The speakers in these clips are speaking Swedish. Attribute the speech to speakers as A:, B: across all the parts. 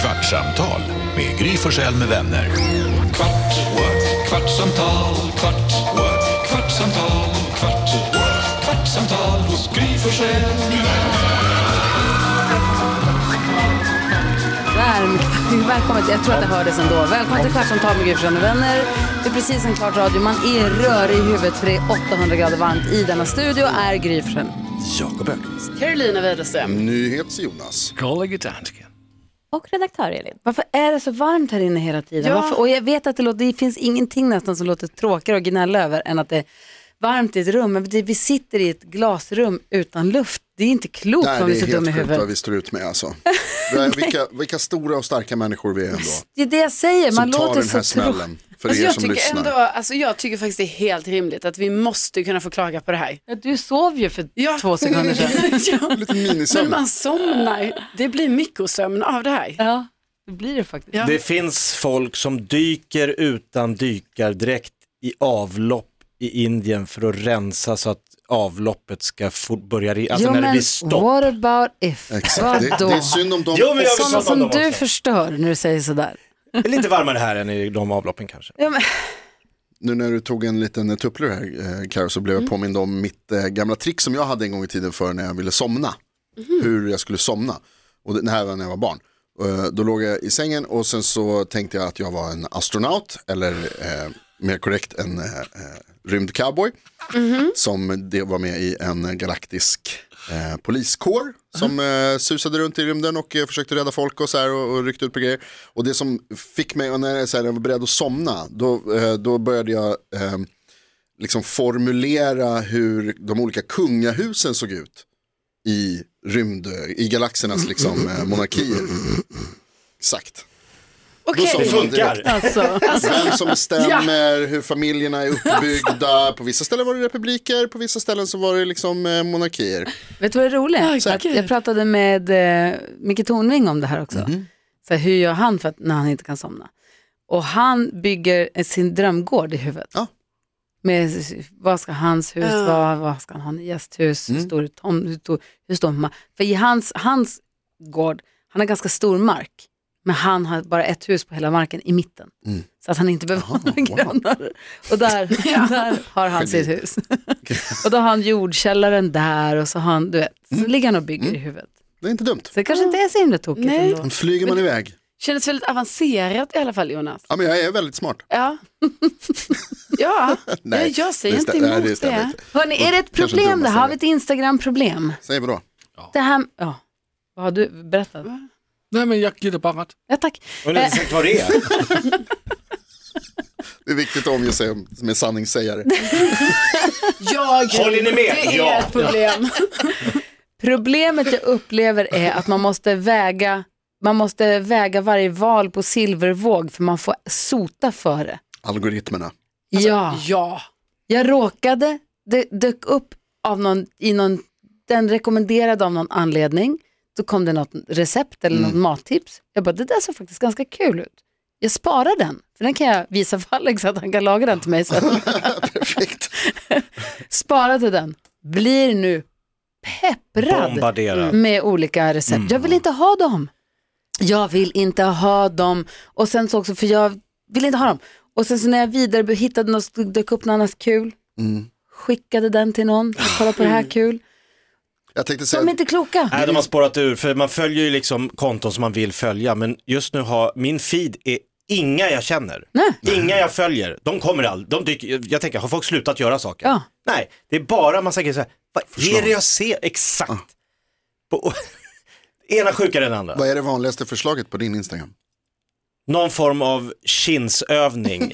A: Kvartsamtal med Gry Forssell med vänner. Kvart, what? kvartsamtal, kvart, what? kvartsamtal, kvart, what? kvartsamtal hos Gry Forssell med vänner.
B: Varmt välkommen till, jag tror att det hördes ändå. Välkommen till Kvartsamtal med Gry Forssell med vänner. Det är precis en kvart radio. Man är rörig i huvudet för det är 800 grader varmt i denna studio. Är Gry Forssell.
C: Jakob Öqvist.
B: Carolina Widerström.
D: NyhetsJonas.
C: Gullige dansken.
E: Och redaktör Elin.
B: Varför är det så varmt här inne hela tiden?
E: Ja.
B: Varför? Och jag vet att det, låter, det finns ingenting nästan som låter tråkigare att gnälla över än att det är varmt i ett rum. Men det, vi sitter i ett glasrum utan luft. Det är inte klokt
D: Nej,
B: om
D: det
B: vi är
D: är
B: så dumma i
D: helt sjukt vad
B: huvudet.
D: vi står ut med alltså. Vi är- vilka, vilka stora och starka människor vi är ändå.
B: Det är det jag säger. Man
D: Som tar
B: låter
D: den här
B: så tråkig.
D: smällen. För
F: Alltså
D: er
F: jag,
D: som
F: tycker
D: lyssnar.
F: ändå, alltså jag tycker faktiskt det är helt rimligt att vi måste kunna få klaga på det här.
B: Ja, du sov ju för
F: Ja.
B: två sekunder sedan.
F: ja.
D: Lite minisömn.
F: Men man somnar, det blir mikrosömn av det här.
B: Ja, det blir det faktiskt.
F: Ja.
C: Det finns folk som dyker utan dykardräkt i avlopp i Indien för att rensa så att avloppet ska få börja rinna, alltså
B: jo,
C: när det
B: men
C: blir stopp.
B: what about if?
D: Exakt. Det, det är synd om dem.
C: Jo, men jag vill
B: Sådana
C: prata om
B: som
C: dem
B: du
C: också.
B: förstör när du säger sådär.
C: Det är lite varmare här än i de avloppen kanske.
B: Ja, men,
D: Nu när du tog en liten eh, tupplur här eh, Karo så blev jag påmind om mitt eh, gamla trick som jag hade en gång i tiden för när jag ville somna. Hur jag skulle somna. Och det det här var när jag var barn. Eh, Då låg jag i sängen och sen så tänkte jag att jag var en astronaut eller eh, mer korrekt en eh, eh, rymdcowboy. Som det var med i en galaktisk eh, poliskår som eh, susade runt i rymden och eh, försökte rädda folk och så här och, och ryckte ut på grejer. Och det som fick mig, och när jag, så här, jag var beredd att somna, då, eh, då började jag eh, liksom formulera hur de olika kungahusen såg ut i rymd, i galaxernas liksom eh, monarkier. Exakt.
F: Okej,
D: sa
C: Det
D: man direkt.
C: funkar.
B: alltså,
D: Vem som bestämmer, hur familjerna är uppbyggda. På vissa ställen var det republiker, på vissa ställen så var det liksom eh, monarkier.
B: vet du vad det roliga är?
F: Aj,
B: Så att
F: gud.
B: jag pratade med eh, Micke Tornving om det här också.
D: Mhm.
B: Så här, hur gör han för att, när han inte kan somna? Och han bygger eh, sin drömgård i huvudet.
D: Ja.
B: Med s- vad ska hans hus
F: Ja.
B: vara, vad ska han ha i gästhus,
D: Mm.
B: hur stor tom, hur stor, hur stor ma- För i hans, hans gård, han har ganska stor mark, men han har bara ett hus på hela marken i mitten. Så att han inte behöver ha några
D: Mm. wow.
B: grannar. Och där, där har han sitt hus. och då har han jordkällaren där och så har han, du vet, så ligger han och bygger i huvudet.
D: Det är inte dumt.
B: Så det kanske inte är så himla tokigt
F: Nej.
B: ändå.
D: Men flyger man iväg?
F: kändes väldigt avancerat i alla fall Jonas.
D: Ja men jag är väldigt smart.
F: Ja, ja. Nej, jag säger
D: det
F: inte
D: stä-
F: emot
D: nej,
F: det.
D: det. stämmer inte.
B: Hörni, är det ett
D: Kanske
B: problem det
D: dummaste
B: här? Har
D: jag
B: vi ett Instagram-problem?
D: Säg vadå?
B: Det här, ja, vad har du berättat?
G: Nej, men jag ger dig bara rätt.
B: Ja, tack.
C: Jag undrar inte exakt vad det är.
D: Det är viktigt att omge sig med sanningssägare.
F: Jag,
C: Håller ni med?
F: Det är
C: Ja.
F: ett problem.
B: Problemet jag upplever är att man måste väga man måste väga varje val på silvervåg för man får sota för det.
D: Algoritmerna.
B: ja.
F: Ja,
B: Jag råkade, det dök upp av någon, i någon, den rekommenderade av någon anledning. Då kom det något recept eller något mattips. Jag bara, det där såg faktiskt ganska kul ut. Jag sparar den, för den kan jag visa för Alex att han kan laga den till mig sen.
D: Perfekt.
B: Sparade den, blir nu pepprad
C: Bombardera.
B: med olika recept. Jag vill inte ha dem. Jag vill inte ha dem. Och sen så också, för jag vill inte ha dem. Och sen så när jag vidare hittade något, dök upp något annat kul. Skickade den till någon, kolla på det här kul.
D: Jag tänkte säga,
B: De är inte kloka.
C: Nej, de har spårat ur, för man följer ju liksom konton som man vill följa, men just nu har min feed är inga jag känner, inga jag följer, de kommer aldrig, de dyker, jag tänker, har folk slutat göra saker?
B: Ja.
C: Nej, det är bara massa grejer så här, vad är det jag ser exakt? På, ena sjukare än andra.
D: vad är det vanligaste förslaget på din Instagram?
C: Någon form av kinsövning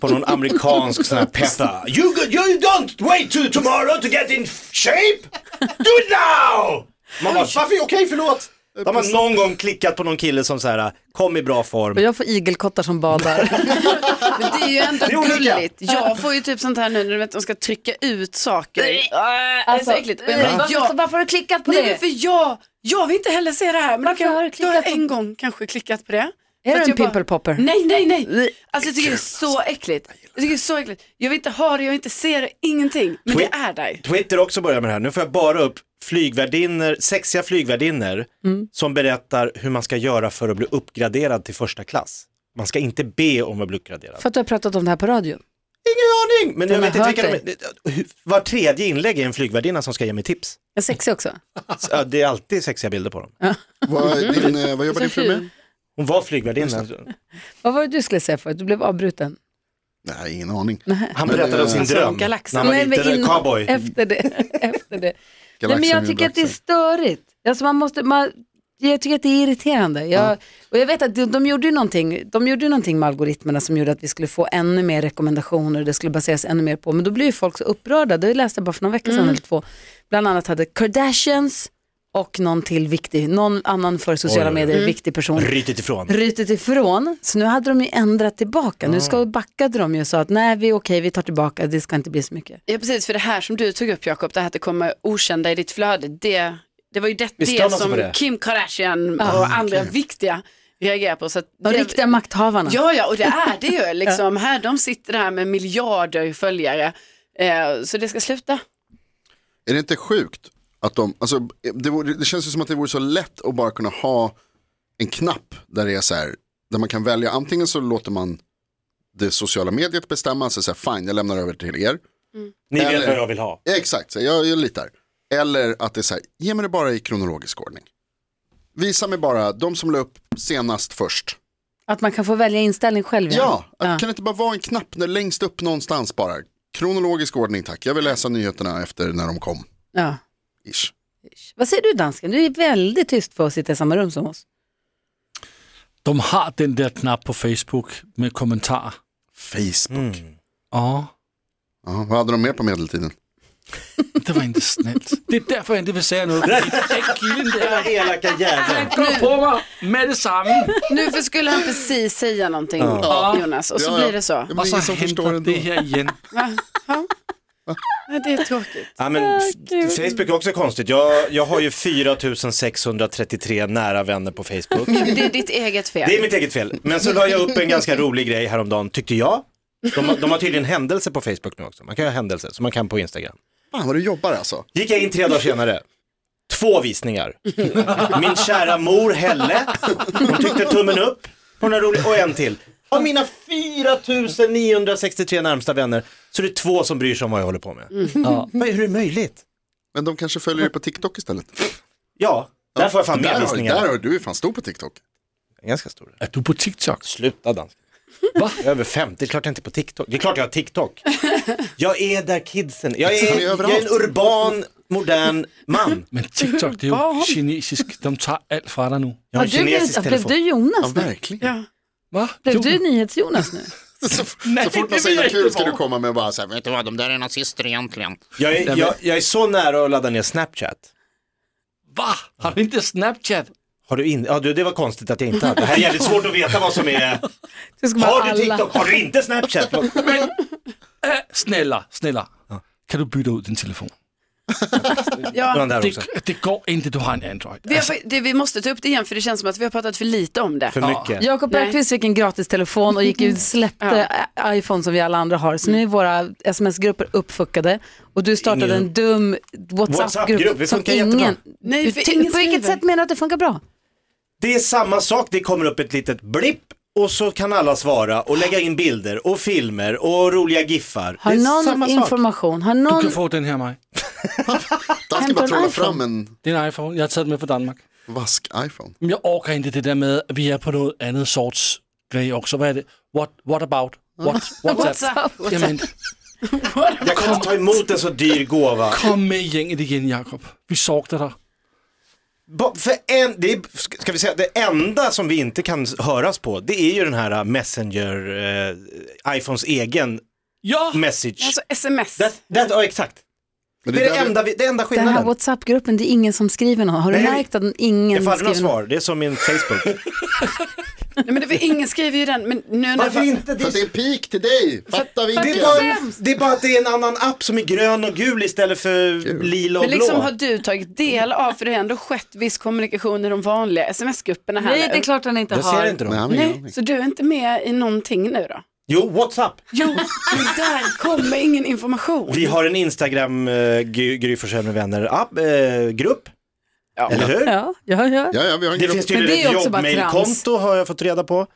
C: på någon amerikansk sån här peppa. You, go- you don't wait till tomorrow to get in shape, do it now! Man bara, varför, okej förlåt. De har någon gång klickat på någon kille som så här, kom i bra form.
B: Och jag får igelkottar som badar.
F: men det är ju ändå
C: Det är olika.
F: gulligt. Jag får ju typ sånt här nu när du vet, de ska trycka ut saker.
B: alltså,
F: det är så äckligt. Men
B: varför,
F: jag-
B: varför har du klickat på
F: Nej,
B: det?
F: men för jag, jag vill inte heller se det här. Men då
B: Varför
F: kan,
B: har du
F: jag, då har jag
B: klickat på-
F: en gång kanske klickat på det.
B: Är du
F: För att
B: en
F: jag bara-
B: pimple popper?
F: Nej, nej, nej. Alltså jag tycker det är så äckligt. Jag tycker det är så äckligt. Jag vill inte ha det, jag vill inte se det, ingenting. Men det
C: Tweet-
F: är där.
C: Twitter också börjar med det här. Nu får jag bara upp flygvärdinnor, sexiga flygvärdinnor som berättar hur man ska göra för att bli uppgraderad till första klass. Man ska inte be om att bli uppgraderad.
B: För att du har pratat om det här på radion.
C: Ingen aning! Men
B: Den
C: jag vet
B: har
C: inte vilka
B: hört
C: de, Var tredje inlägg är en flygvärdinna som ska ge mig tips.
B: En sexig också.
C: Så, ja, det är alltid sexiga bilder på dem.
D: Vad, är din, eh, vad jobbar din
B: Alltså,
D: fru med?
C: Hon var flygvärdinna.
B: Vad var det du skulle säga för? Du blev avbruten.
D: Nej, ingen aning.
C: Han berättade om
B: eh,
C: sin
F: Alltså,
C: dröm.
F: galaxen.
C: När han var
B: Nej, men
C: liten
B: innan-
C: cowboy.
B: Efter det. Efter det. Nej,
D: Galaxen
B: men jag
D: är
B: tycker att det är
D: galaxen.
B: störigt. Alltså man måste, man, jag tycker att det är irriterande. Jag, och jag vet att de, de, gjorde ju någonting, de gjorde ju någonting med algoritmerna som gjorde att vi skulle få ännu mer rekommendationer och det skulle baseras ännu mer på. Men då blir ju folk så upprörda. Det läste jag bara för några veckor sedan
C: Mm.
B: eller två. Bland annat hade Kardashians och någon till viktig, någon annan för sociala
C: Oj, Mm. oj, oj.
B: medier viktig person
C: Rytet ifrån.
B: rytet ifrån. Så nu hade de ju ändrat tillbaka. Nu ska, backade de ju och sa att nej, vi är okej, vi tar tillbaka, det ska inte bli så mycket.
F: Ja precis, för det här som du tog upp Jakob, det här att det kommer okända i ditt flöde, det, det var ju det,
C: Visst tar man
F: det
C: sig
F: som
C: på det?
F: Kim Kardashian och andra viktiga reagerar på. Så att
B: De
F: det-
B: riktiga makthavarna.
F: Ja, ja, och det är det ju. Liksom. Här, de sitter där med miljarder följare. Eh, så det ska sluta.
D: Är det inte sjukt att de, alltså, det, vore, det känns ju som att det vore så lätt att bara kunna ha en knapp där det är så här, där man kan välja, antingen så låter man det sociala mediet bestämma, alltså så här, fine, jag lämnar över till er,
C: Ni vet
D: Eller-
C: vad jag vill ha.
D: Ja, exakt, så här, jag, jag litar. Eller att det är så här, ge mig det bara i kronologisk ordning. Visa mig bara de som la upp senast först.
B: Att man kan få välja inställning själv.
D: Ja, att- kan det inte bara vara en knapp där längst upp någonstans bara? Kronologisk ordning tack, jag vill läsa nyheterna efter när de kom.
B: Ja.
D: Ish.
B: Vad säger du dansken? Du är väldigt tyst för att sitta i samma rum som oss.
G: De har den där knappen på Facebook med kommentarer.
D: Facebook.
B: Mm.
G: Ja,
D: Ja, vad hade de mer på medeltiden?
G: det var inte snällt. Det är därför jag inte vill säga något. Den där killen där,
C: Elaka jävel.
B: Mm.
G: kom på mig med detsamma.
F: Nu för skulle han precis säga någonting Jonas och så
D: Ja, ja.
F: blir det så.
D: Ja, men
G: Och så
D: ingen som förstår
G: händer
D: ändå.
G: det här igen.
F: Ja, Det är tråkigt.
C: Ja, men f- Facebook är också konstigt. Jag, jag har ju 4633 nära vänner på Facebook.
F: Det är ditt eget fel.
C: Det är mitt eget fel. Men så la jag upp en ganska rolig grej häromdagen, tyckte jag. De, har- de har tydligen händelser på Facebook nu också. Man kan ha händelser, som man kan på Instagram.
D: Fan vad du jobbar alltså.
C: Gick jag in tre dagar senare. Två visningar. Min kära mor Helle, hon tyckte tummen upp på den här roliga, och en till. Av mina 4963 närmsta vänner så är det två som bryr sig om vad jag håller på med.
G: Ja.
C: Vad- Hur är det möjligt?
D: Men de kanske följer dig på TikTok istället.
C: Ja, där får jag fan mer
D: Där har,
C: visningar.
D: där har, du är fan stor på TikTok.
C: Ganska stor.
G: Är du på TikTok?
C: Sluta danska. Va? Jag är över 50, det är klart jag inte är på TikTok. Det är klart jag har TikTok. Jag är där kidsen, jag är,
D: Han är
C: jag
D: överallt.
C: är en urban, modern man.
G: Men TikTok det är ju kinesiskt. De tar allt från dig nu.
C: Jag har
B: Har
C: en
B: du
C: kinesisk
B: blivit, blev
C: telefon.
B: du
D: Ja,
B: Jonas nu?
D: verkligen.
G: Va?
B: Blev du Nyhets-Jonas nu?
D: Så, så fort man säger kul ska du komma med bara så här, vet du vad, de där är nazister egentligen.
C: Jag är, jag, jag är så nära att ladda ner Snapchat.
G: Va? Har du inte Snapchat?
C: Har du in... Ja, du, det var konstigt att jag inte hade. Det här är jävligt svårt att veta vad som är.
B: Det ska vara
C: Har du
B: alla.
C: TikTok? Har du inte Snapchat?
G: Äh, snälla, snälla. Kan du byta ut din telefon?
C: Ja,
F: Ja,
C: där också.
G: Det, det går inte, du har en Android.
F: vi, har, fa- det, vi måste ta upp det igen för det känns som att vi har pratat för lite om det.
C: Alltså- För mycket.
B: Jakob
F: Nej.
B: Bergqvist fick en gratis telefon och gick ut släppte i- iPhone som vi alla andra har. Så nu är våra sms-grupper uppfuckade och du startade
C: Ingen-
B: en dum
C: WhatsApp-grupp.
B: WhatsApp-grupp
C: Det
B: som
C: funkar jättebra.
B: ingen...
F: Nej,
B: Ty-
F: för ingen
B: på vilket
F: skriver.
B: sätt menar du att det funkar bra?
C: Det är samma sak, det kommer upp ett litet blipp och så kan alla svara och lägga in bilder och filmer och roliga giffar.
B: Har
C: det är
B: någon
C: samma sak.
B: information? Har
G: Du
B: någon...
G: kan få den här mig.
D: Där ska
B: Hämta
D: bara
B: en
D: trolla
B: iPhone.
D: fram en
G: Din iPhone, jag har tagit med från Danmark.
D: vask-iPhone.
G: Men jag orkar inte det där med att vi är på något annat sorts grej också. Vad är det? What, what about? What, WhatsApp?
F: WhatsApp.
G: Jamen,
C: Jag kan inte ta emot en så dyr gåva.
G: kom med i gänget igen Jakob. Vi saknar dig.
C: Ba- För en, det, är, ska vi säga, det enda som vi inte kan höras på det är ju den här äh, Messenger, eh, iPhones egen
G: Ja!
C: message.
F: Alltså sms.
C: That, that, ja, exakt.
D: Men
C: Det är det
D: där-
C: enda, vi- det enda
B: Den här
C: skillnaden.
B: WhatsApp-gruppen, det är ingen som skriver någon. Har du
C: Nej, jag-
B: märkt att ingen
C: Jag får aldrig några
B: skriver någon?
C: svar, det är som min Facebook.
F: Nej, men det var, ingen skriver ju den. Men nu när
C: Varför inte? Det
D: För
C: är,
D: att det är peak till dig, fattar vi
C: det, är
D: inte.
C: bara, det är bara att det är en annan app som är grön och gul istället för lila och
F: Men liksom
C: blå.
F: har du tagit del av, för det har ändå skett viss kommunikation i de vanliga sms-grupperna här
B: Nej,
F: nu.
B: det är klart han inte
C: Jag
B: har.
C: ser inte
D: Nej,
C: dem.
D: men, ingen
F: Nej,
D: aning.
F: så du är inte med i någonting nu då?
C: Jo, WhatsApp.
F: Jo, men där kommer ingen information.
C: Vi har en Instagram eh, Gry Gry Forssell med vänner app, eh, grupp. Eller hur?
B: Ja, ja, ja.
D: ja, ja, vi har en
C: Det
D: grupp,
C: finns tydligen
B: det är
C: ett
B: också bara
C: jobbmailkonto har jag fått reda på.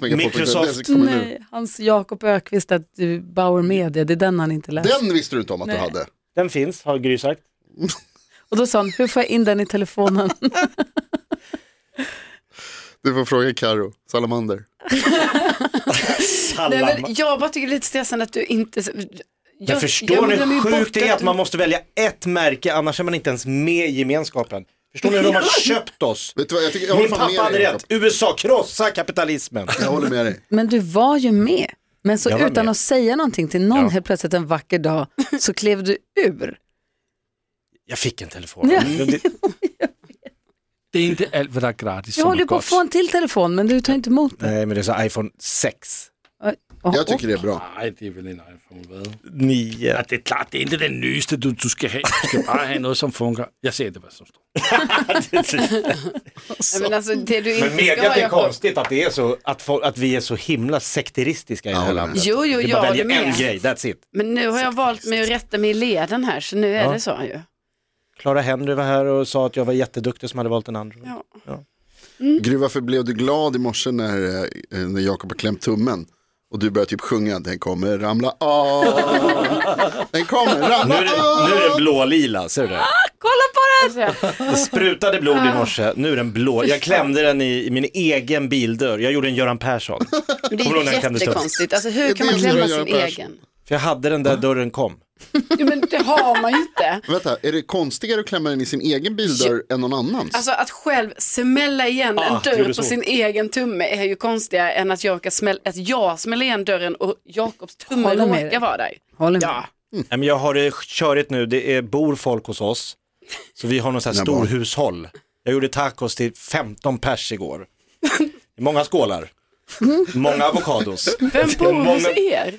C: Microsoft.
D: Microsoft.
B: Nej, hans Jakob Ökvist att du Bauer Media, det är den han inte läst.
D: Den visste du inte om att du hade.
C: Den finns, har Gry sagt.
B: Och då sa han, hur får jag in den i telefonen?
D: Du får fråga Karo Salamander.
F: Nej,
C: Salam.
F: men jag bara tycker det är lite stressande att du inte...
C: Jag förstår ni
F: glömmer ju
C: hur sjukt
F: bort
C: det är att
F: du-
C: man måste välja ett märke annars är man inte ens med i gemenskapen. Förstår ni hur de har köpt oss?
D: Vet du vad, jag, tycker, jag håller
C: Min
D: fan
C: pappa
D: med
C: hade
D: dig,
C: rätt,
D: Jakob.
C: USA krossar kapitalismen.
D: Jag håller med dig.
B: Men du var ju med. Men så
C: Jag var
B: utan
C: med.
B: att säga någonting till någon
C: Ja.
B: helt plötsligt en vacker dag så klev du ur.
C: Jag fick en telefon.
B: Ja.
C: Men det-
G: Det är inte allt vad det är gratis
B: Jag
G: som
B: håller
G: är
B: ju på att
G: gott.
B: få en till telefon men du tar inte emot den.
C: Nej men det är så iPhone 6,
B: Och-
D: Jag tycker det är bra.
G: Nej, det är väl en iPhone, vad?
C: 9.
G: Ja, det är klart, det är inte den nyaste du, du ska ha. Du ska bara ha något som funkar. Jag ser inte vad som står.
F: Nej, men alltså, det du
C: Men
F: inte ska
C: media
F: ha,
C: det är
F: Jakob.
C: konstigt att, det är så, att, folk, att vi är så himla sekteristiska i det här
D: Ja,
C: landet.
F: Jo, jo,
C: Vi bara
F: jag
C: väljer
F: är med.
C: en grej, that's it.
F: Men nu har jag valt mig att rätta mig i leden här, så nu är
C: Ja.
F: det så ju.
C: Clara Henry var här och sa att jag var jätteduktig som hade valt den andra.
F: Ja.
C: Mm.
D: Gry, varför blev du glad i morse när, eh, när Jakob har klämt tummen? Och du börjar typ sjunga, den kommer ramla av. Den kommer
C: Nu
D: ramla
C: är det, nu är det blålila, ser du det? Det sprutade blod i morse, nu är den blå. Jag klämde den i, i min egen bildörr. Jag gjorde en Göran Persson.
F: Men det
C: Kommer du ihåg när
F: är
C: jag klämde tuppen?
F: jättekonstigt. Alltså
D: Det
F: hur
D: är
F: kan man
D: det jag
F: klämma
D: gör,
F: sin
D: Persson.
F: egen?
C: För jag hade den där dörren kom.
F: Jo, men det har man ju inte.
D: Vänta, är det konstigare att klämma den i sin egen bildörr än någon annans?
F: Alltså att själv smälla igen
C: Ah,
F: en
C: det gjorde
F: dörr
C: så.
F: på sin egen tumme är ju konstigare än att jag, kan smälla, att jag smäller igen dörren och Jakobs tumme
B: Håller med dig.
F: råkar vara där.
B: Håller med.
F: Ja.
C: Nej, men jag har det körigt nu, det är, bor folk hos oss. Så vi har någon sån här
D: Dina barn.
C: storhushåll. Jag gjorde tacos till 15 pers igår. Det är Många skålar. Många avokados.
F: Vem bor hos
C: Många-
F: er?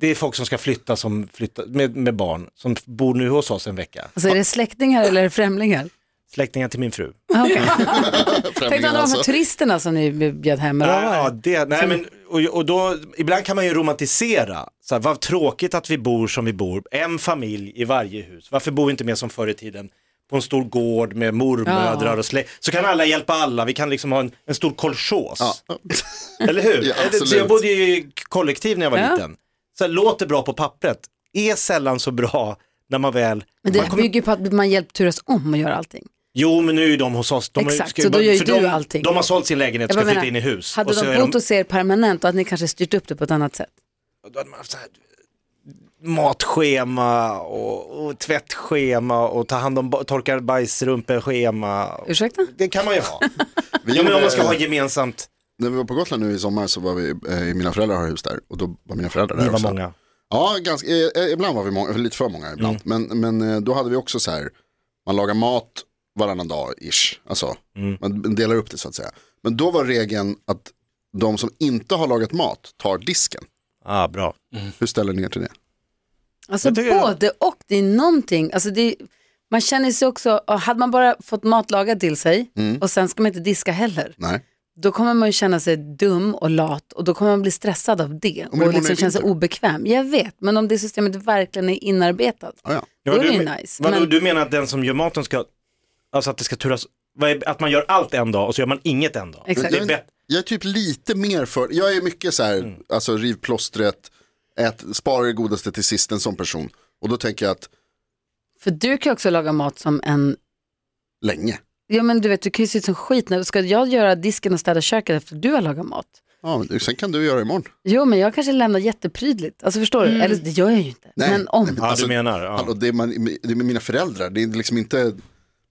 C: Det är folk som ska flytta, som flytta med, med barn, som bor nu hos oss en vecka.
B: Alltså är det släktingar eller är det främlingar?
C: Släktingar till min fru.
B: Ah, okej. Tänk
D: Främlingen
B: alla de här
D: alltså.
B: turisterna som ni bjöd hem. eller vad var det?
C: Ja, det, nej, men, och, och då, ibland kan man ju romantisera. Så här, vad tråkigt att vi bor som vi bor, en familj i varje hus. Varför bor vi inte mer som förr i tiden? På en stor gård med mormödrar och släkt. Så kan alla hjälpa alla, vi kan liksom ha en, en stor kolchos.
D: Ja.
C: Eller hur?
D: Ja, absolut.
C: så jag bodde ju i kollektiv när jag var
B: Ja.
C: liten. Så här, låter bra på pappret, är sällan så bra när man väl...
B: Men
C: man
B: det
C: kommer-
B: bygger ju på att man hjälpt turas om att göra allting.
C: Jo men nu är ju de hos oss. De har ju-
B: Exakt,
C: ska
B: så då gör ju
C: för
B: du
C: de,
B: allting.
C: De har sålt sin lägenhet och
B: bara
C: ska flytta in i hus.
B: hade
C: och så
B: de
C: är
B: bott hos er permanent och att ni kanske styrt upp det på ett annat sätt?
C: då hade man haft så här, matschema och, och tvättschema och ta hand om ba- torkar bajsrumpor-schema.
B: Ursäkta?
C: Det kan man ju ha.
D: Vi
C: ja, men om man ska
D: gjorde-
C: ha gemensamt.
D: När vi var på Gotland nu i sommar så var vi, eh, mina föräldrar har hus där och då var mina föräldrar där
C: Ni var
D: också.
C: många.
D: Ja, ganska, eh, eh, ibland var vi många, lite för många ibland.
C: Mm.
D: Men, men eh, då hade vi också så här, man lagar mat varannan dag ish. Alltså,
C: Mm.
D: man delar upp det så att säga. Men då var regeln att de som inte har lagat mat tar disken.
C: Ah, bra.
D: Hur ställer ni er till det?
B: Alltså
C: Jag tycker-
B: både och, det är någonting. Alltså det är, man känner sig också, och hade man bara fått mat lagad till sig
C: Mm.
B: och sen ska man inte diska heller,
D: Nej.
B: då kommer man ju känna sig dum och lat och då kommer man bli stressad av det
D: men det
B: och
D: målar
B: liksom
D: ju
B: känna sig
D: inte.
B: obekväm. Jag vet, men om det systemet verkligen är inarbetat,
D: Ah, ja.
C: Ja,
B: då är
C: du
B: det ju
C: men-
B: nice.
C: vadå,
B: men,
C: Du menar att den som gör maten ska, alltså att det ska turas, vad är, att man gör allt en dag och så gör man inget en dag.
B: Exakt.
C: Det är bättre.
D: Jag är typ lite mer för, jag är mycket så här,
C: Mm.
D: alltså riv plåstret, ät, spara det godaste till sist en sån person. Och då tänker jag att
B: För du kan ju också laga mat som en,
D: länge.
B: ja men du vet du kan ju se ut som skit, när, ska jag göra disken och städa köket efter du har lagat mat?
D: Ja, men sen kan du göra det imorgon.
B: Jo men jag kanske lämnar jätteprydligt, alltså förstår du? Eller det gör jag ju inte,
D: Mm. Nej.
B: men om.
D: Nej, men-
C: Ja,
D: Alltså,
C: du menar. Ja.
D: Hallå, det, är man, det är med mina föräldrar, det är liksom inte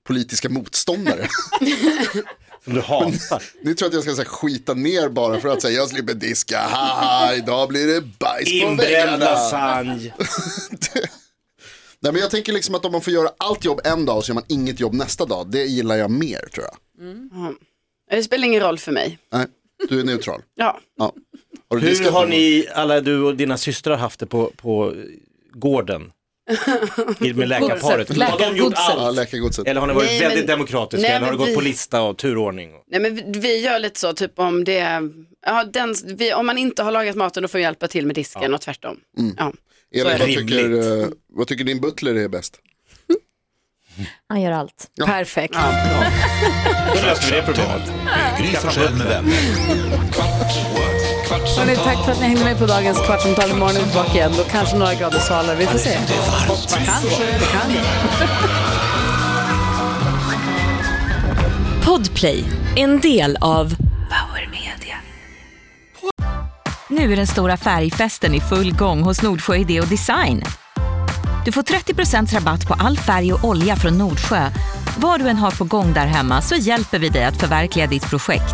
D: politiska motståndare.
C: Som du hatar.
D: Ni tror att jag ska så här, skita ner bara för att säga jag slipper diska, haha, idag blir det bajs på
C: Inbränd
D: väggarna.
C: lasagne.
D: Nej, men jag tänker liksom att om man får göra allt jobb en dag och så gör man inget jobb nästa dag, det gillar jag mer tror jag.
F: Det spelar ingen roll för mig.
D: Nej, du är neutral.
F: Ja.
D: Ja. Har du
C: Hur
D: diskat
C: har
D: någon?
C: ni, alla du och dina systrar haft det på, på gården? I- Med läkarparet?
B: Godset.
C: Har de gjort
B: Läkargodset.
D: Ja,
C: allt?
D: läkargodset.
C: Eller har ni varit
F: Nej, men-
C: väldigt demokratiska?
F: Nej,
C: eller har
F: men
C: det gått
F: vi-
C: på lista och turordning?
F: Nej men vi- vi gör lite så, typ om det är, ja, den, vi, om man inte har lagat maten då får vi hjälpa till med disken och tvärtom.
B: Mm.
F: Ja.
D: Elin, vad tycker,
C: Rimligt.
D: eh, vad tycker din butler är bäst?
E: Han gör allt.
B: Perfekt.
C: Då löste vi det
A: Kvartsamtal
C: problemet.
A: med Gry Forssell med vänner. Kvart, what? kvartsamtal,
B: Hörrni, tack för att ni hängde med på dagens Kvartsamtal. Imorgon är vi tillbaka igen. Då kanske några grader svalare. Vi får se.
H: Podplay, en del av Power Media. Nu är den stora färgfesten i full gång hos Nordsjö Idé och Design. Du får 30 rabatt på all färg och olja från Nordsjö. Vad du än har på gång där hemma så hjälper vi dig att förverkliga ditt projekt.